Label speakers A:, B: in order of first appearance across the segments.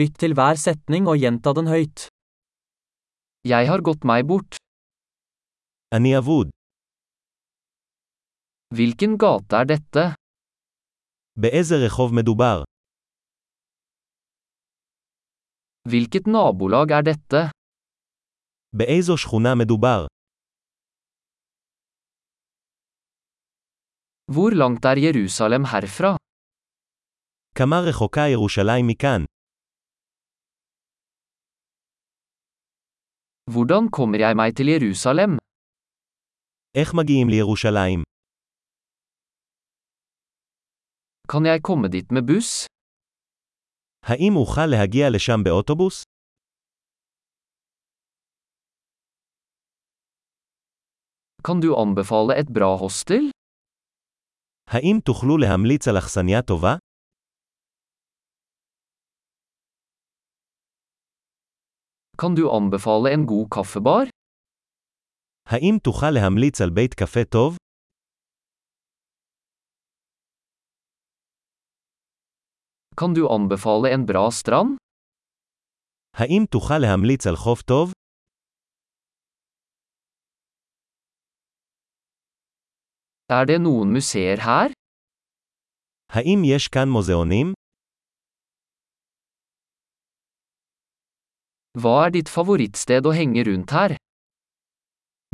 A: Lytt til hver setning og gjenta den høyt. Jeg har gått meg bort.
B: אני אבוד.
A: Hvilken gate er dette?
B: באיזה רחוב מדובר?
A: Hvilket nabolag er dette?
B: באיזו שכונה מדובר?
A: Hvor langt er Jerusalem herfra?
B: כמה רחוקה ירושלים מכאן?
A: Hvordan kommer jeg meg til Jerusalem?
B: איך מגיעים לירושלים?
A: Kan jeg komme dit med buss?
B: האם אוכל להגיע לשם באוטובוס?
A: Kan du anbefale et bra hostel?
B: האם תוכלו להמליץ על אכסניה טובה?
A: Kan du anbefale en god kaffebar?
B: האם תוכל להמליץ על בית קפה טוב?
A: Kan du anbefale en bra strand?
B: האם תוכל להמליץ על חוף טוב?
A: Er det noen museer her?
B: האם יש כאן מוזיאונים?
A: Hva er ditt favorittsted å henge rundt her?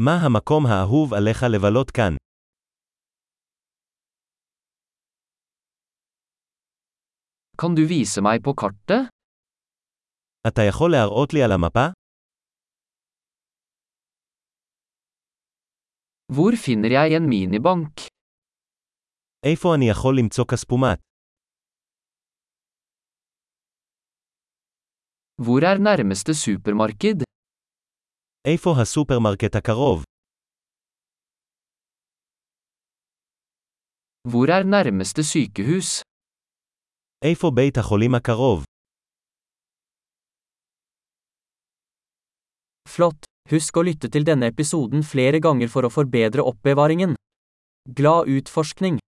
B: מה המקום האהוב עליך לבלות כאן?
A: Kan du vise meg på kartet?
B: אתה יכול להראות לי על המפה?
A: Hvor finner jeg en minibank?
B: איפה אני יכול למצוא כספומט?
A: Hvor er nærmeste supermarked?
B: איפה הסופרמרקט הקרוב?
A: Hvor er nærmeste sykehus?
B: איפה בית החולים הקרוב?
A: Flott! Husk å lytte til denne episoden flere ganger for å forbedre oppbevaringen. Glad utforskning!